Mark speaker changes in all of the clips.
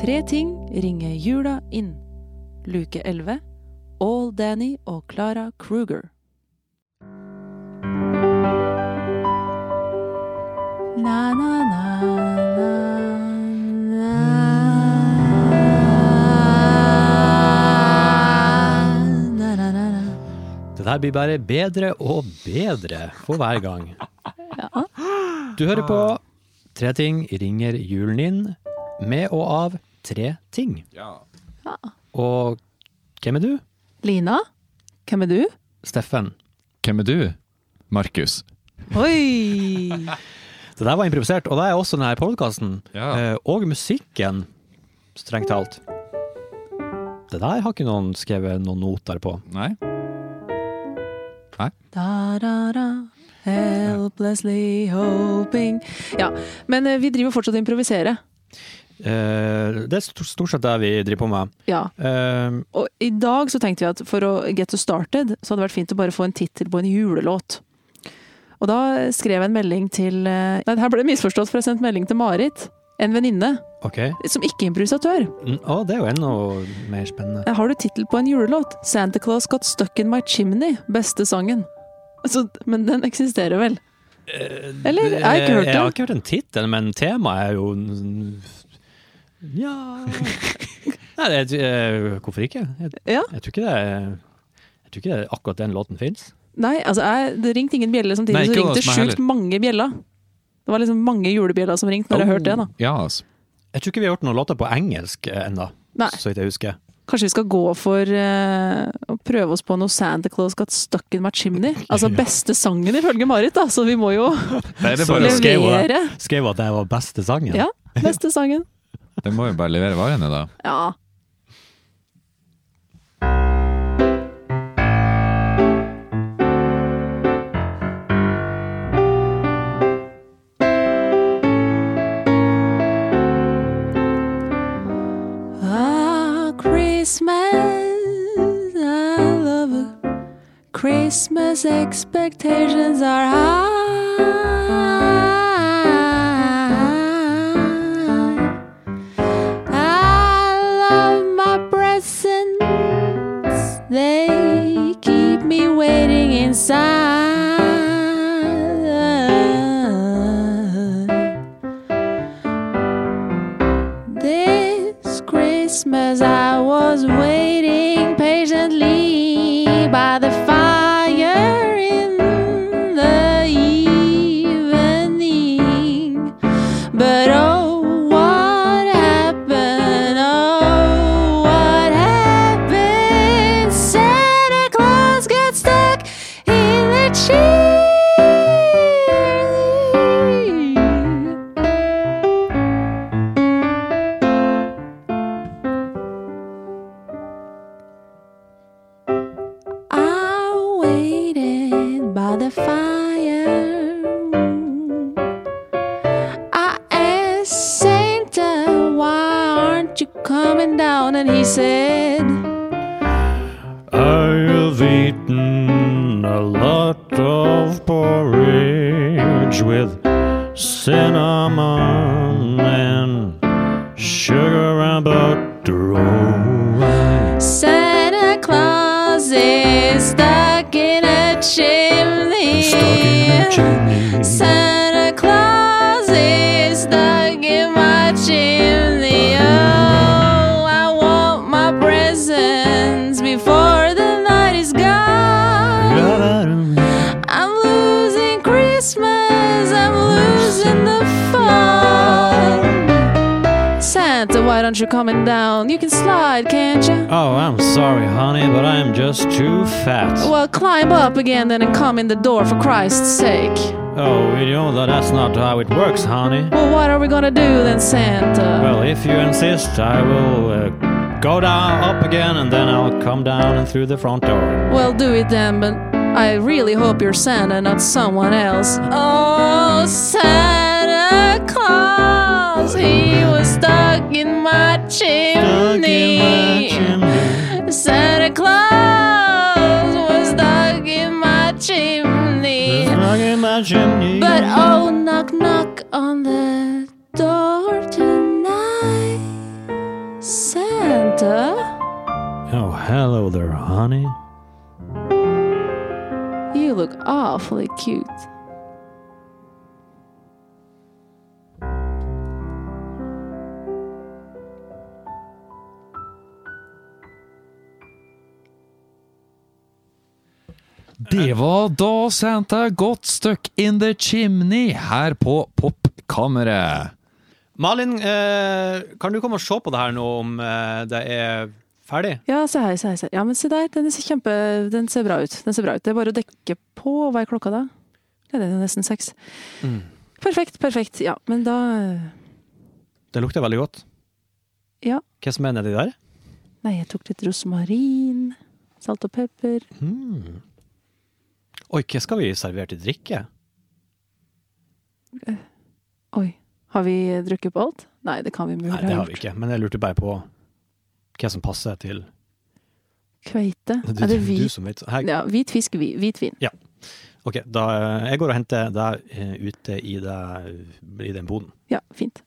Speaker 1: Tre ting ringer jula inn. Luke 11. All Danny og Clara Kruger. Na, na, na, na, na. Na, na, na, na.
Speaker 2: Det der blir bare bedre og bedre for hver gang. Du hører på Tre ting ringer julen inn, med og av tre ting. Og hvem er du?
Speaker 1: Lina, hvem er du?
Speaker 2: Steffen.
Speaker 3: Hvem er du? Markus.
Speaker 1: Oi!
Speaker 2: Det der var improvisert, og det er også denne podkasten.
Speaker 3: Ja.
Speaker 2: Og musikken, strengt talt. Det der har ikke noen skrevet noen noter på.
Speaker 3: Nei?
Speaker 1: Da, da, da. Helplessly hoping Ja, men eh, vi driver fortsatt og improviserer.
Speaker 2: Eh, Det er st- stort sett det vi driver på med.
Speaker 1: Ja.
Speaker 2: Eh,
Speaker 1: Og i dag så tenkte vi at for å get us started, så hadde det vært fint å bare få en tittel på en julelåt. Og da skrev jeg en melding til eh, Nei, her ble det misforstått, for jeg sendte melding til Marit. En venninne
Speaker 2: Ok.
Speaker 1: som ikke er improvisatør. Eh,
Speaker 2: Mm, Å, det er jo enda mer spennende.
Speaker 1: Har du tittel på en julelåt? 'Santa Claus Got Stuck In My Chimney'. Beste sangen. Så, men den eksisterer vel? Eller? Jeg har ikke hørt
Speaker 2: Jeg har
Speaker 1: den.
Speaker 2: ikke hørt en tittel, men temaet er jo Ja Nei, det, eh, hvorfor ikke? Jeg,
Speaker 1: Ja.
Speaker 2: jeg tror ikke det er jeg tror ikke det er akkurat den låten fins.
Speaker 1: Nei, altså jeg, det ringte ingen bjeller samtidig,
Speaker 3: Nei,
Speaker 1: så
Speaker 3: ikke
Speaker 1: ringte
Speaker 3: hos meg
Speaker 1: sjukt mange bjeller. Det var liksom mange julebjeller som ringte når jeg hørte det. da.
Speaker 3: Ja, altså.
Speaker 2: Jeg tror ikke vi har hørt noen låter på engelsk ennå,
Speaker 1: Nei.
Speaker 2: så vidt jeg husker.
Speaker 1: Kanskje vi skal gå for eh, å prøve oss på noe Santa Claus Got Stuck In My Chimney? Altså beste sangen ifølge Marit, da, så vi må jo
Speaker 3: Nei, det, er
Speaker 2: Så
Speaker 3: bare,
Speaker 2: det- skrev hun det.
Speaker 1: levere.
Speaker 2: Skrev at det var beste sangen.
Speaker 1: Ja, beste sangen.
Speaker 3: det må jo bare levere varene, da.
Speaker 1: Ja. Ah, Christmas, I love it. Christmas expectations are high. I love my presents. They keep me waiting inside. This Christmas I was waiting patiently by the fire in the evening. But oh, what happened? Oh, what happened? Santa Claus got stuck in the chimney. I waited by the fire. I asked Santa, why aren't you coming down? And he said,
Speaker 2: I've eaten a lot of porridge with cinnamon and sugar and butter.
Speaker 1: Santa Claus is stuck in a chimney. Santa Claus is stuck in my chimney. Oh, I want my presents before the night is gone. I'm losing Christmas, I'm losing the fun. Santa, why don't you coming down? You can slide, can't you?
Speaker 2: Oh, I'm sorry, honey, but I'm just too fat.
Speaker 1: Well, climb up again then and come in the door for Christ's sake.
Speaker 2: Oh, you know that that's not how it works, honey.
Speaker 1: Well, what are we gonna do then, Santa?
Speaker 2: Well, if you insist, I will uh, go down up again and then I'll come down and through the front door.
Speaker 1: Well, do it then, but I really hope you're Santa, not someone else. Oh, Santa Claus, he was stuck in my chimney. Santa Claus was stuck in my chimney. But oh, knock, knock on the door tonight. død?
Speaker 2: Oh, hello there, honey.
Speaker 1: You look awfully cute.
Speaker 3: Det var da Santa got stuck in the chimney her på Popkammeret.
Speaker 2: Malin, eh, kan du komme og se på det her nå om eh, det er ferdig?
Speaker 1: Ja, se her, se her, se her. Ja, men se der, den ser kjempe... Den ser bra ut. Den ser bra ut. Det er bare å dekke på. Hva er klokka da? Ja, det er jo nesten seks.
Speaker 2: Mm.
Speaker 1: Perfekt, perfekt. Ja, men da
Speaker 2: Det lukter veldig godt.
Speaker 1: Ja.
Speaker 2: Hva som er nedi der?
Speaker 1: Nei, jeg tok litt rosmarin. Salt og pepper.
Speaker 2: Oi, hva skal vi servere til drikke?
Speaker 1: Oi. Har vi drukket på alt? Nei, det kan vi mulig
Speaker 2: Nei, det har vi ikke, men jeg lurte bare på hva som passer til
Speaker 1: Kveite.
Speaker 2: Du,
Speaker 1: Er det
Speaker 2: du
Speaker 1: hvit?
Speaker 2: som vet. Her,
Speaker 1: Ja, hvit fisk, hvi- hvit vin.
Speaker 2: Ok, da, eh, jeg går og henter deg eh, ute i, det, i den boden.
Speaker 1: Ja, fint.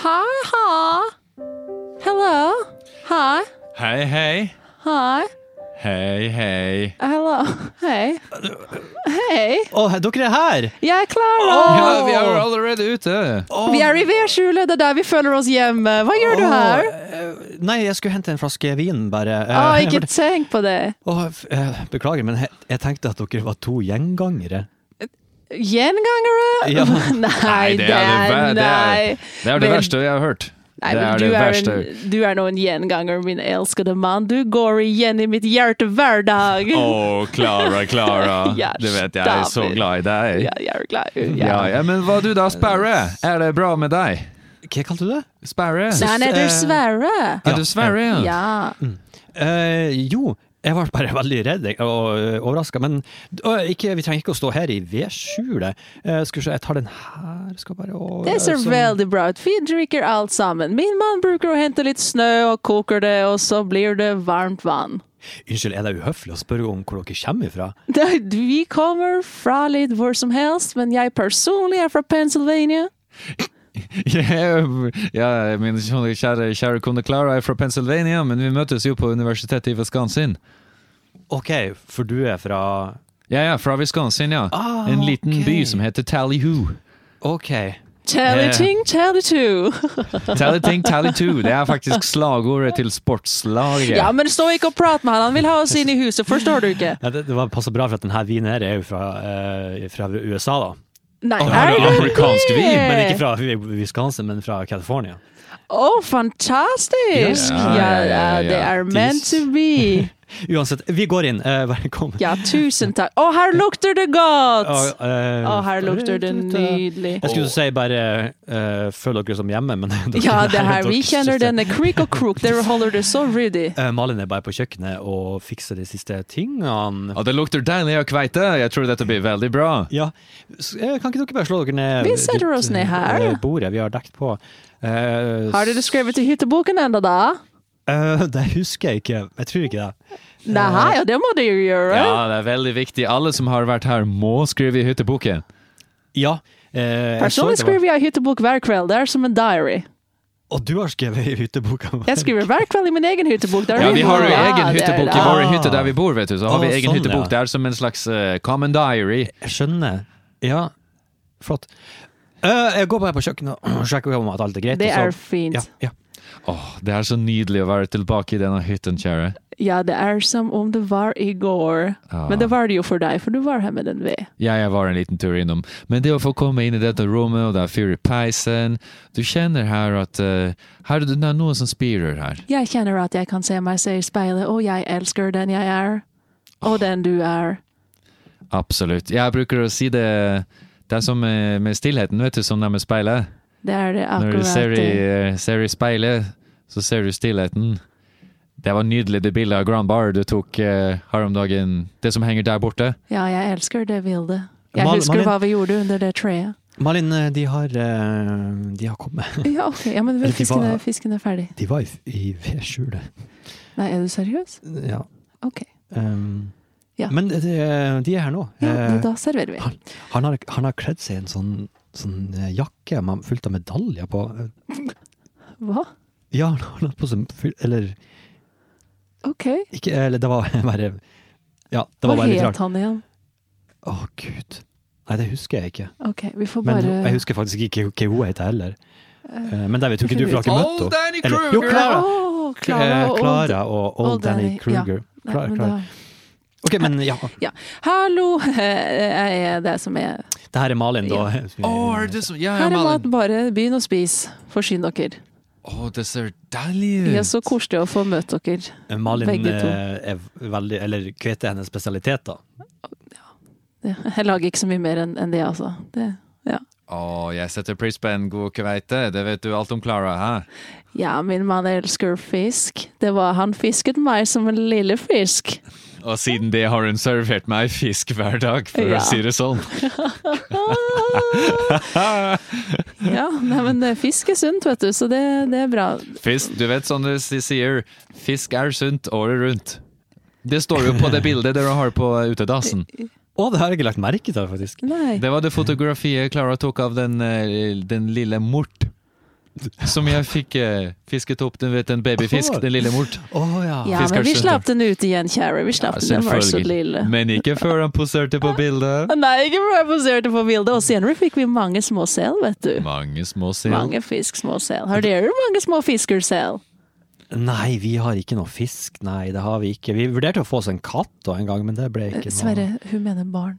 Speaker 1: Hi, hi. Hello. Hi.
Speaker 3: Hei, hei.
Speaker 1: Hi.
Speaker 3: Hei, hei.
Speaker 1: Hello. Hei. Hei.
Speaker 2: Å, dere er her!
Speaker 1: Jeg er Klara.
Speaker 3: Ja, vi er allerede ute.
Speaker 1: Vi er i vedskjulet. Det er der vi føler oss hjemme. Hva gjør du her?
Speaker 2: Å, eh, Nei, jeg skulle hente en flaske vin, bare. Eh,
Speaker 1: Å, ikke tenk på det.
Speaker 2: Å, f- eh, beklager, men jeg, jeg tenkte at dere var to gjengangere.
Speaker 1: Gjengangere?
Speaker 2: Ja.
Speaker 1: Nei, det er
Speaker 3: ver- det
Speaker 1: Nei.
Speaker 3: er, det, er det
Speaker 1: Men-
Speaker 3: verste jeg har hørt.
Speaker 1: Nei,
Speaker 3: det
Speaker 1: men
Speaker 3: er
Speaker 1: du
Speaker 3: det
Speaker 1: er,
Speaker 3: verste.
Speaker 1: en, du er nå en gjenganger, min elskede mann. Du går igjen i mitt hjerte hver dag.
Speaker 3: Å, Klara, Klara.
Speaker 1: Ja,
Speaker 3: Du vet, jeg er så
Speaker 1: stabil.
Speaker 3: glad i deg.
Speaker 1: Ja, jeg er glad.
Speaker 3: Ja, ja, men hva du da, Sparre? Er det bra med deg?
Speaker 2: Hva kalte du det?
Speaker 3: Sparre?
Speaker 1: Nei, han heter Sverre.
Speaker 3: Er du Sverre?
Speaker 1: Ja.
Speaker 2: Eh, jo, jeg ble bare veldig redd jeg, og overraska. Men å, ikke, vi trenger ikke å stå her i vedskjulet. Eh, skal vi se, jeg tar den her. Skal bare, å,
Speaker 1: Det ser
Speaker 2: sånn.
Speaker 1: veldig bra ut. Vi drikker alt sammen. Min mann bruker å hente litt snø og koker det, og så blir det varmt vann.
Speaker 2: Unnskyld, er det uhøflig å spørre om hvor dere kommer ifra?
Speaker 1: Nei, Vi kommer fra litt hvor som helst, men jeg personlig er fra Pennsylvania.
Speaker 3: Ja, ja, min sånn kjære, kjære kone Clara er fra Pennsylvania, men vi møtes jo på universitetet i Wisconsin.
Speaker 2: OK, for du er fra
Speaker 3: Ja, ja, fra Wisconsin, ja.
Speaker 2: Ah,
Speaker 3: en liten
Speaker 2: ok.
Speaker 3: by som heter Tallyhoo.
Speaker 2: OK.
Speaker 1: Tally ting, tally two.
Speaker 3: Tallyting, Tallytoo. Det er faktisk slagordet til sportslaget.
Speaker 1: Ja, men stå ikke og prat med han. Han vil ha oss inn i huset, forstår du ikke?
Speaker 2: Ja, det det var passer bra, for at denne vinen her er jo fra, eh, fra USA, da.
Speaker 1: Nei,
Speaker 3: Å, har
Speaker 1: er
Speaker 3: du
Speaker 1: det
Speaker 3: amerikansk
Speaker 1: det?
Speaker 3: vin,
Speaker 2: Men ikke fra Wisconsin, men fra California.
Speaker 1: Å, fantastisk! Ja,
Speaker 3: Ja, ja,
Speaker 1: ja,
Speaker 3: ja, ja, ja.
Speaker 1: det er meant to be.
Speaker 2: Uansett, vi går inn. Eh, velkommen.
Speaker 1: Ja, tusen takk. Å, her lukter det godt!
Speaker 2: Og, eh,
Speaker 1: Å, her lukter det nydelig.
Speaker 2: Jeg skulle si bare eh, føl dere som hjemme, men dere
Speaker 1: Ja, det
Speaker 2: er
Speaker 1: her, vi
Speaker 2: dere
Speaker 1: kjenner
Speaker 2: synes det.
Speaker 1: denne creek og crook. Dere holder det så ryddig.
Speaker 2: Eh, Malin er bare på kjøkkenet og fikser de siste tingene.
Speaker 3: Ja, det lukter deilig av kveite. Jeg tror dette blir veldig bra.
Speaker 2: Ja, s- eh, kan ikke dere bare slå dere ned
Speaker 1: Vi setter
Speaker 2: rundt,
Speaker 1: oss ned her.
Speaker 2: eh, Bordet vi har dekt på. Eh,
Speaker 1: Har dere skrevet i hytteboken ennå, da?
Speaker 2: eh, det husker jeg ikke. Jeg tror ikke det.
Speaker 1: Nei, ja, det må dere jo gjøre.
Speaker 3: Ja, det er veldig viktig. Alle som har vært her, må skrive i hytteboken.
Speaker 2: Ja. eh, jeg så
Speaker 1: Personlig
Speaker 2: det var-
Speaker 1: skriver jeg hyttebok hver kveld. Det er som en diary.
Speaker 2: Og du har skrevet i hytteboka vår.
Speaker 1: Jeg skriver hver kveld i min egen hyttebok. Det er
Speaker 3: Ja, vi har jo
Speaker 1: Ja,
Speaker 3: egen
Speaker 1: det er
Speaker 3: hyttebok
Speaker 1: det.
Speaker 3: i vår hytte der vi bor, vet du. Så har
Speaker 2: Å,
Speaker 3: vi egen
Speaker 2: sånn,
Speaker 3: hyttebok.
Speaker 2: ja.
Speaker 3: Det er som en slags eh, common diary.
Speaker 2: Jeg skjønner. Ja, flott. Eh, jeg går bare på kjøkkenet og sjekker om at alt er greit.
Speaker 1: Det
Speaker 2: og
Speaker 1: er
Speaker 2: så-
Speaker 1: fint.
Speaker 2: ja, ja.
Speaker 3: Åh, det er så nydelig å være tilbake i denne hytten, kjære.
Speaker 1: Ja, det er som om det var i går.
Speaker 3: Ja.
Speaker 1: Men det var det jo for deg, for du var her med den ved.
Speaker 3: Ja, jeg var en liten tur innom. Men det å få komme inn i dette rommet, og det er fyr i peisen Du kjenner her at eh, her, det er noen som spirer her.
Speaker 1: Jeg kjenner at jeg kan se meg se i speilet, og jeg elsker den jeg er. Og den du er.
Speaker 3: Absolutt. Jeg bruker å si det Det er som med, med stillheten, vet du, som det er med speilet.
Speaker 1: Det er det
Speaker 3: Når du
Speaker 1: akkurat
Speaker 3: ser i,
Speaker 1: det.
Speaker 3: eh, ser i speilet, så ser du stillheten. Det var nydelig det bildet av Grand Bar du tok eh, her om dagen. Det som henger der borte.
Speaker 1: Ja, jeg elsker det bildet. Jeg
Speaker 2: Mal-
Speaker 1: husker
Speaker 2: Malin-
Speaker 1: hva vi gjorde under det treet.
Speaker 2: Malin, eh, de har, eh, de har kommet.
Speaker 1: Ja, ok. Ja, men
Speaker 2: Eller de
Speaker 1: fisken er,
Speaker 2: var-
Speaker 1: fisken er ferdig.
Speaker 2: De var i, i vedskjulet.
Speaker 1: Nei, er du seriøs?
Speaker 2: Ja.
Speaker 1: Ok.
Speaker 2: ehm,
Speaker 1: Ja.
Speaker 2: Men det- det- de er her nå.
Speaker 1: Ja,
Speaker 2: Eh,
Speaker 1: men da serverer vi.
Speaker 2: han, han, har, han har kledd seg i en sånn, sånn eh, jakke med- fullt av medaljer på.
Speaker 1: Hva?
Speaker 2: Ja, han har hatt på seg fyll... Eller
Speaker 1: Ok.
Speaker 2: ikke eh, Eller det var bare Ja, det
Speaker 1: Hva
Speaker 2: var bare litt
Speaker 1: het
Speaker 2: rart.
Speaker 1: han igjen?
Speaker 2: Å, gud. Nei, det husker jeg ikke.
Speaker 1: Ok, vi får
Speaker 2: Men
Speaker 1: bare
Speaker 2: jeg husker faktisk ikke hva hun heter heller. Eh, Men det vet jo ikke du, for du har ikke møtt
Speaker 3: Old
Speaker 2: henne.
Speaker 3: Danny
Speaker 2: Eller- jo,
Speaker 3: Kruger!
Speaker 2: Clara.
Speaker 1: Åh, Clara
Speaker 2: Eh,
Speaker 1: og Old.
Speaker 2: Clara og Old
Speaker 1: Old
Speaker 2: Danny
Speaker 1: Danny, ja.
Speaker 2: Kruger.
Speaker 1: Nei,
Speaker 2: Clara,
Speaker 1: men
Speaker 2: Clara.
Speaker 1: da-
Speaker 2: Ok, men ja.
Speaker 1: Ja. Hallo, jeg er det som er
Speaker 2: Det her er Malin, da.
Speaker 3: Å, er det som Ja, ja,
Speaker 1: Her er mat,
Speaker 3: Malin.
Speaker 1: bare begynn å spise. Forsyn dere.
Speaker 3: Å, det ser deilig ut.
Speaker 1: Det er så koselig å få møte dere.
Speaker 2: Malin
Speaker 1: Begge to.
Speaker 2: eh, er veldig Eller hvete er hennes spesialitet, da.
Speaker 1: Det- Jeg lager ikke så mye mer enn enn det, altså. Det, ja.
Speaker 3: Å, jeg setter pris på en god kveite. Det vet du alt om Clara, hæ?
Speaker 1: ja, min mann elsker fisk. Det var han fisket meg som en lille fisk.
Speaker 3: Og siden det har hun servert meg fisk hver dag, for
Speaker 1: Ja.
Speaker 3: å si det sånn.
Speaker 1: Ah. Ja, nei, men eh, fisk er sunt, vet du, så det, det er bra.
Speaker 3: Fisk, du vet sånn de sier, fisk er sunt året rundt. Det står jo på det bildet dere har på eh, utedassen.
Speaker 2: Å, det har jeg ikke lagt merke til, faktisk.
Speaker 1: Nei.
Speaker 3: Det var det fotografiet Clara tok av den, eh, den lille mort. Som jeg fikk eh, fisket opp, du vet, en babyfisk, den lille mort.
Speaker 2: Å ja.
Speaker 1: Ja,
Speaker 3: fisk er
Speaker 1: men vi
Speaker 3: sunt,
Speaker 1: slapp den ut igjen, kjære. Vi slapp den, den var så lille.
Speaker 3: Men ikke før han poserte på bildet.
Speaker 1: Nei, ikke for jeg poserte på bildet. Og senere fikk vi mange små sel, vet du.
Speaker 3: Mange små sild.
Speaker 1: Mange fisk, små sel. Har dere mange små fiskersel?
Speaker 2: Nei, vi har ikke noe fisk. Nei, det har vi ikke. Vi vurderte å få oss en katt da en gang, men det ble ikke noe.
Speaker 1: Sverre, hun mener barn.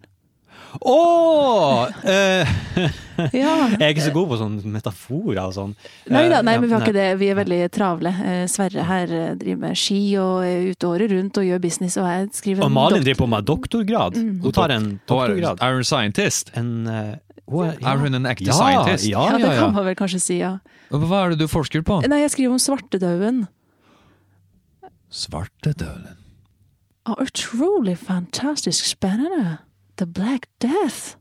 Speaker 2: Å! eh,
Speaker 1: Ja.
Speaker 2: jeg er ikke så god på sånne metaforer og sånn.
Speaker 1: Nei da, nei,
Speaker 2: Eh,
Speaker 1: men vi har
Speaker 2: nei.
Speaker 1: ikke det. Vi er veldig travle. Eh, Sverre her eh, driver med ski og er ute året rundt og gjør business, og jeg skriver
Speaker 2: Og
Speaker 1: en
Speaker 2: Malin
Speaker 1: dok-
Speaker 2: driver på med doktorgrad.
Speaker 1: Mm.
Speaker 2: Hun tar en
Speaker 3: Og er,
Speaker 2: doktorgrad.
Speaker 3: er hun scientist?
Speaker 2: En, eh, hun er,
Speaker 3: Er hun en ekte
Speaker 2: ja,
Speaker 3: scientist?
Speaker 2: Ja,
Speaker 1: Ja,
Speaker 2: ja,
Speaker 1: det
Speaker 2: ja.
Speaker 1: kan man vel kanskje si, ja.
Speaker 3: Hva er det du forsker på?
Speaker 1: Nei, jeg skriver om svartedauden.
Speaker 3: Svartedølen.
Speaker 1: Og utrolig fantastisk spennende. The Black Death.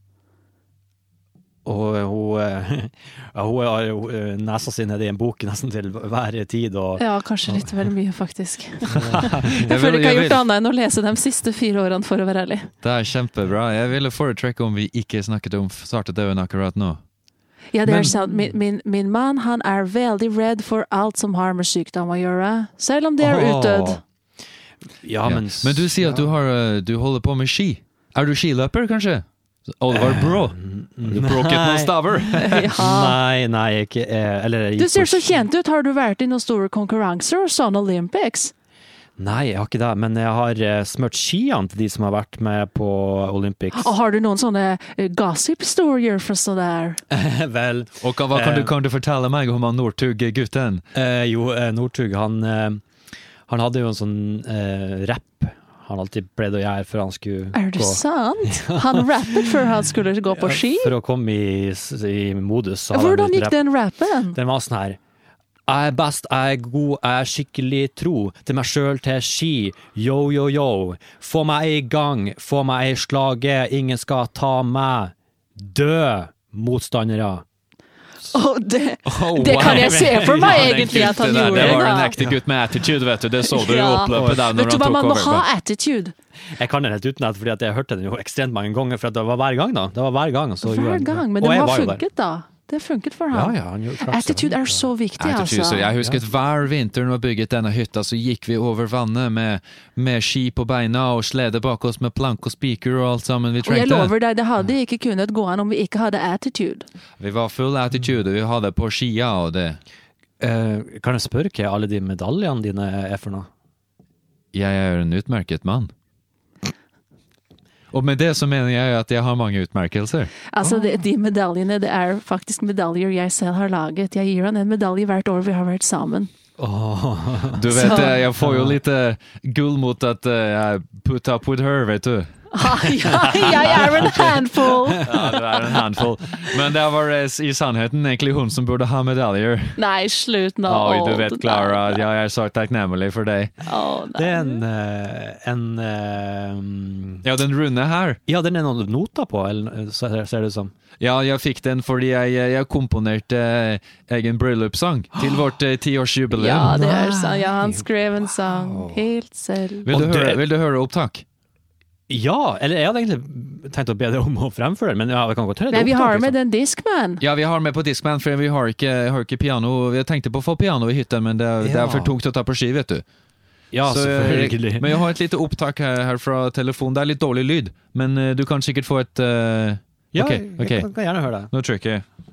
Speaker 2: Og hun, eh, ja, hun har jo, eh, nesa si nedi en bok nesten til hver tid. Og,
Speaker 1: Ja, kanskje litt vel mye, faktisk.
Speaker 3: Jeg
Speaker 1: Jeg føler
Speaker 3: vil-
Speaker 1: ikke jeg
Speaker 3: jeg
Speaker 1: har gjort
Speaker 3: vil-
Speaker 1: annet enn å lese de siste fire årene, for å være ærlig.
Speaker 3: Det er kjempebra. Jeg ville foretrekke om vi ikke snakket om svartedauden akkurat nå.
Speaker 1: Ja, det
Speaker 3: Men-
Speaker 1: er sant. Min, min, min mann han er veldig redd for alt som har med sykdom å gjøre, selv om det er
Speaker 2: Åh.
Speaker 1: utdødd.
Speaker 2: ja,
Speaker 3: Ja.
Speaker 2: men,
Speaker 3: Men du sier at du, har, eh, du holder på med ski. Er du skiløper, kanskje? Oliver Brå. Har du bråket noen
Speaker 2: Eh, nei.
Speaker 3: staver?
Speaker 1: Ja.
Speaker 2: Nei, nei, ikke eh, Eller jeg
Speaker 1: Du
Speaker 2: gikk
Speaker 1: ser
Speaker 2: på
Speaker 1: så
Speaker 2: ski.
Speaker 1: kjent ut. Har du vært i noen store konkurranser og sånn Olympics?
Speaker 2: Nei, jeg har ikke det. Men jeg har eh, smurt skiene til de som har vært med på Olympics.
Speaker 1: Og har du noen sånne eh, gossip-historier fra sånn der?
Speaker 2: Vel,
Speaker 3: Og hva, hva kan, du,
Speaker 2: Eh.
Speaker 3: kan du fortelle meg om han Northug-gutten?
Speaker 2: eh, jo, eh, Northug, han, eh, han hadde jo en sånn eh, rapp han alltid pleide å gjøre før han skulle
Speaker 1: Er det
Speaker 2: gå.
Speaker 1: sant? Han rappet før han skulle gå på ski.
Speaker 2: Eh, For å komme i, s- i modus. så hadde han
Speaker 1: Hvordan
Speaker 2: litt
Speaker 1: gikk
Speaker 2: rapp.
Speaker 1: den rappen?
Speaker 2: Den var sånn her. Jeg er best, jeg er god, jeg er skikkelig tro. Til meg sjøl, til ski. Yo, yo, yo. Få meg i gang, få meg i slaget. Ingen skal ta meg. Dø, motstandere.
Speaker 1: Åh, det,
Speaker 2: Oh,
Speaker 1: det kan jeg se for meg egentlig at han gjorde.
Speaker 3: Det var
Speaker 1: da.
Speaker 3: en ekte gutt med attitude, vet du. Det så du i
Speaker 1: Ja.
Speaker 3: oppløpet der
Speaker 1: Vet
Speaker 3: når
Speaker 1: du hva,
Speaker 3: han tok
Speaker 1: man må ha
Speaker 3: over.
Speaker 1: attitude.
Speaker 2: Jeg kan den helt utenat, fordi at jeg hørte den jo ekstremt mange ganger. For at det var hver gang, da. Det var hver gang. og Så gjorde
Speaker 1: Hver
Speaker 2: han det.
Speaker 1: gang. Men
Speaker 2: Og
Speaker 1: det
Speaker 2: jeg
Speaker 1: har
Speaker 2: var jo der.
Speaker 1: funket, da. Det har funket for
Speaker 2: Ja,
Speaker 1: ham.
Speaker 2: ja, han gjorde klart seg.
Speaker 1: Attitude er så viktig,
Speaker 3: Attitude, så
Speaker 1: altså.
Speaker 3: Jeg husket hver vinter når vi bygget denne hytta, så gikk vi over vannet med, med ski på beina og slede bak oss med plank og spiker og alt sammen vi
Speaker 1: Og jeg
Speaker 3: trengte.
Speaker 1: lover deg, det hadde ikke kunnet gå an om vi ikke hadde attitude.
Speaker 3: Vi var full attitude, vi hadde på skia og det.
Speaker 2: Eh, kan jeg spørre hva alle de medaljene dine er for noe?
Speaker 3: Jeg er en utmerket mann. Og med det så mener jeg at jeg har mange utmerkelser.
Speaker 1: Altså, det, de medaljene, det er faktisk medaljer jeg selv har laget. Jeg gir han en medalje hvert år vi har vært sammen.
Speaker 3: Du vet,
Speaker 1: Så-
Speaker 3: eh, jeg får jo litt eh, gull mot at eh, jeg put up with her, vet du.
Speaker 1: Ah, ja, jeg er en handful!
Speaker 3: Ja, du er en handfull. Men det var eh, i sannheten egentlig hun som burde ha medaljer.
Speaker 1: Nei, slutt nå.
Speaker 3: Oi,
Speaker 1: Å,
Speaker 3: du vet,
Speaker 1: det der-
Speaker 3: Clara, at jeg er så takknemlig for deg.
Speaker 1: Å, nei.
Speaker 2: Det er en, eh, en eh,
Speaker 3: Ja, den runde her.
Speaker 2: Ja, den er noen noter på, eller, ser ser det sånn. ut som.
Speaker 3: Ja, jeg fikk den fordi jeg, jeg komponerte eh, egen bryllupssang til vårt eh, tiårsjubileum.
Speaker 1: Ja, det er sant. Ja, han skrev en sang helt selv.
Speaker 3: Vil du,
Speaker 2: Og det-
Speaker 3: høre, vil du høre opptak?
Speaker 2: Ja, eller jeg hadde egentlig tenkt å be deg om å fremføre den, men ja, det sånn. kan godt høre.
Speaker 1: Nei, vi har med den Discman.
Speaker 3: Ja, vi har med på Discman, for vi har ikke, har ikke piano. Vi tenkte på å få piano i hytta, men det, er- det
Speaker 2: Ja.
Speaker 3: er for tungt å ta på ski, vet du.
Speaker 2: Ja,
Speaker 3: Så, eh,
Speaker 2: selvfølgelig.
Speaker 3: Men jeg har et lite opptak her, her fra telefonen. Det er litt dårlig lyd, men eh, du kan sikkert få et eh,
Speaker 2: ja,
Speaker 3: ok, ok.
Speaker 2: jeg kan, kan gjerne høre det.
Speaker 3: Nå trykker jeg.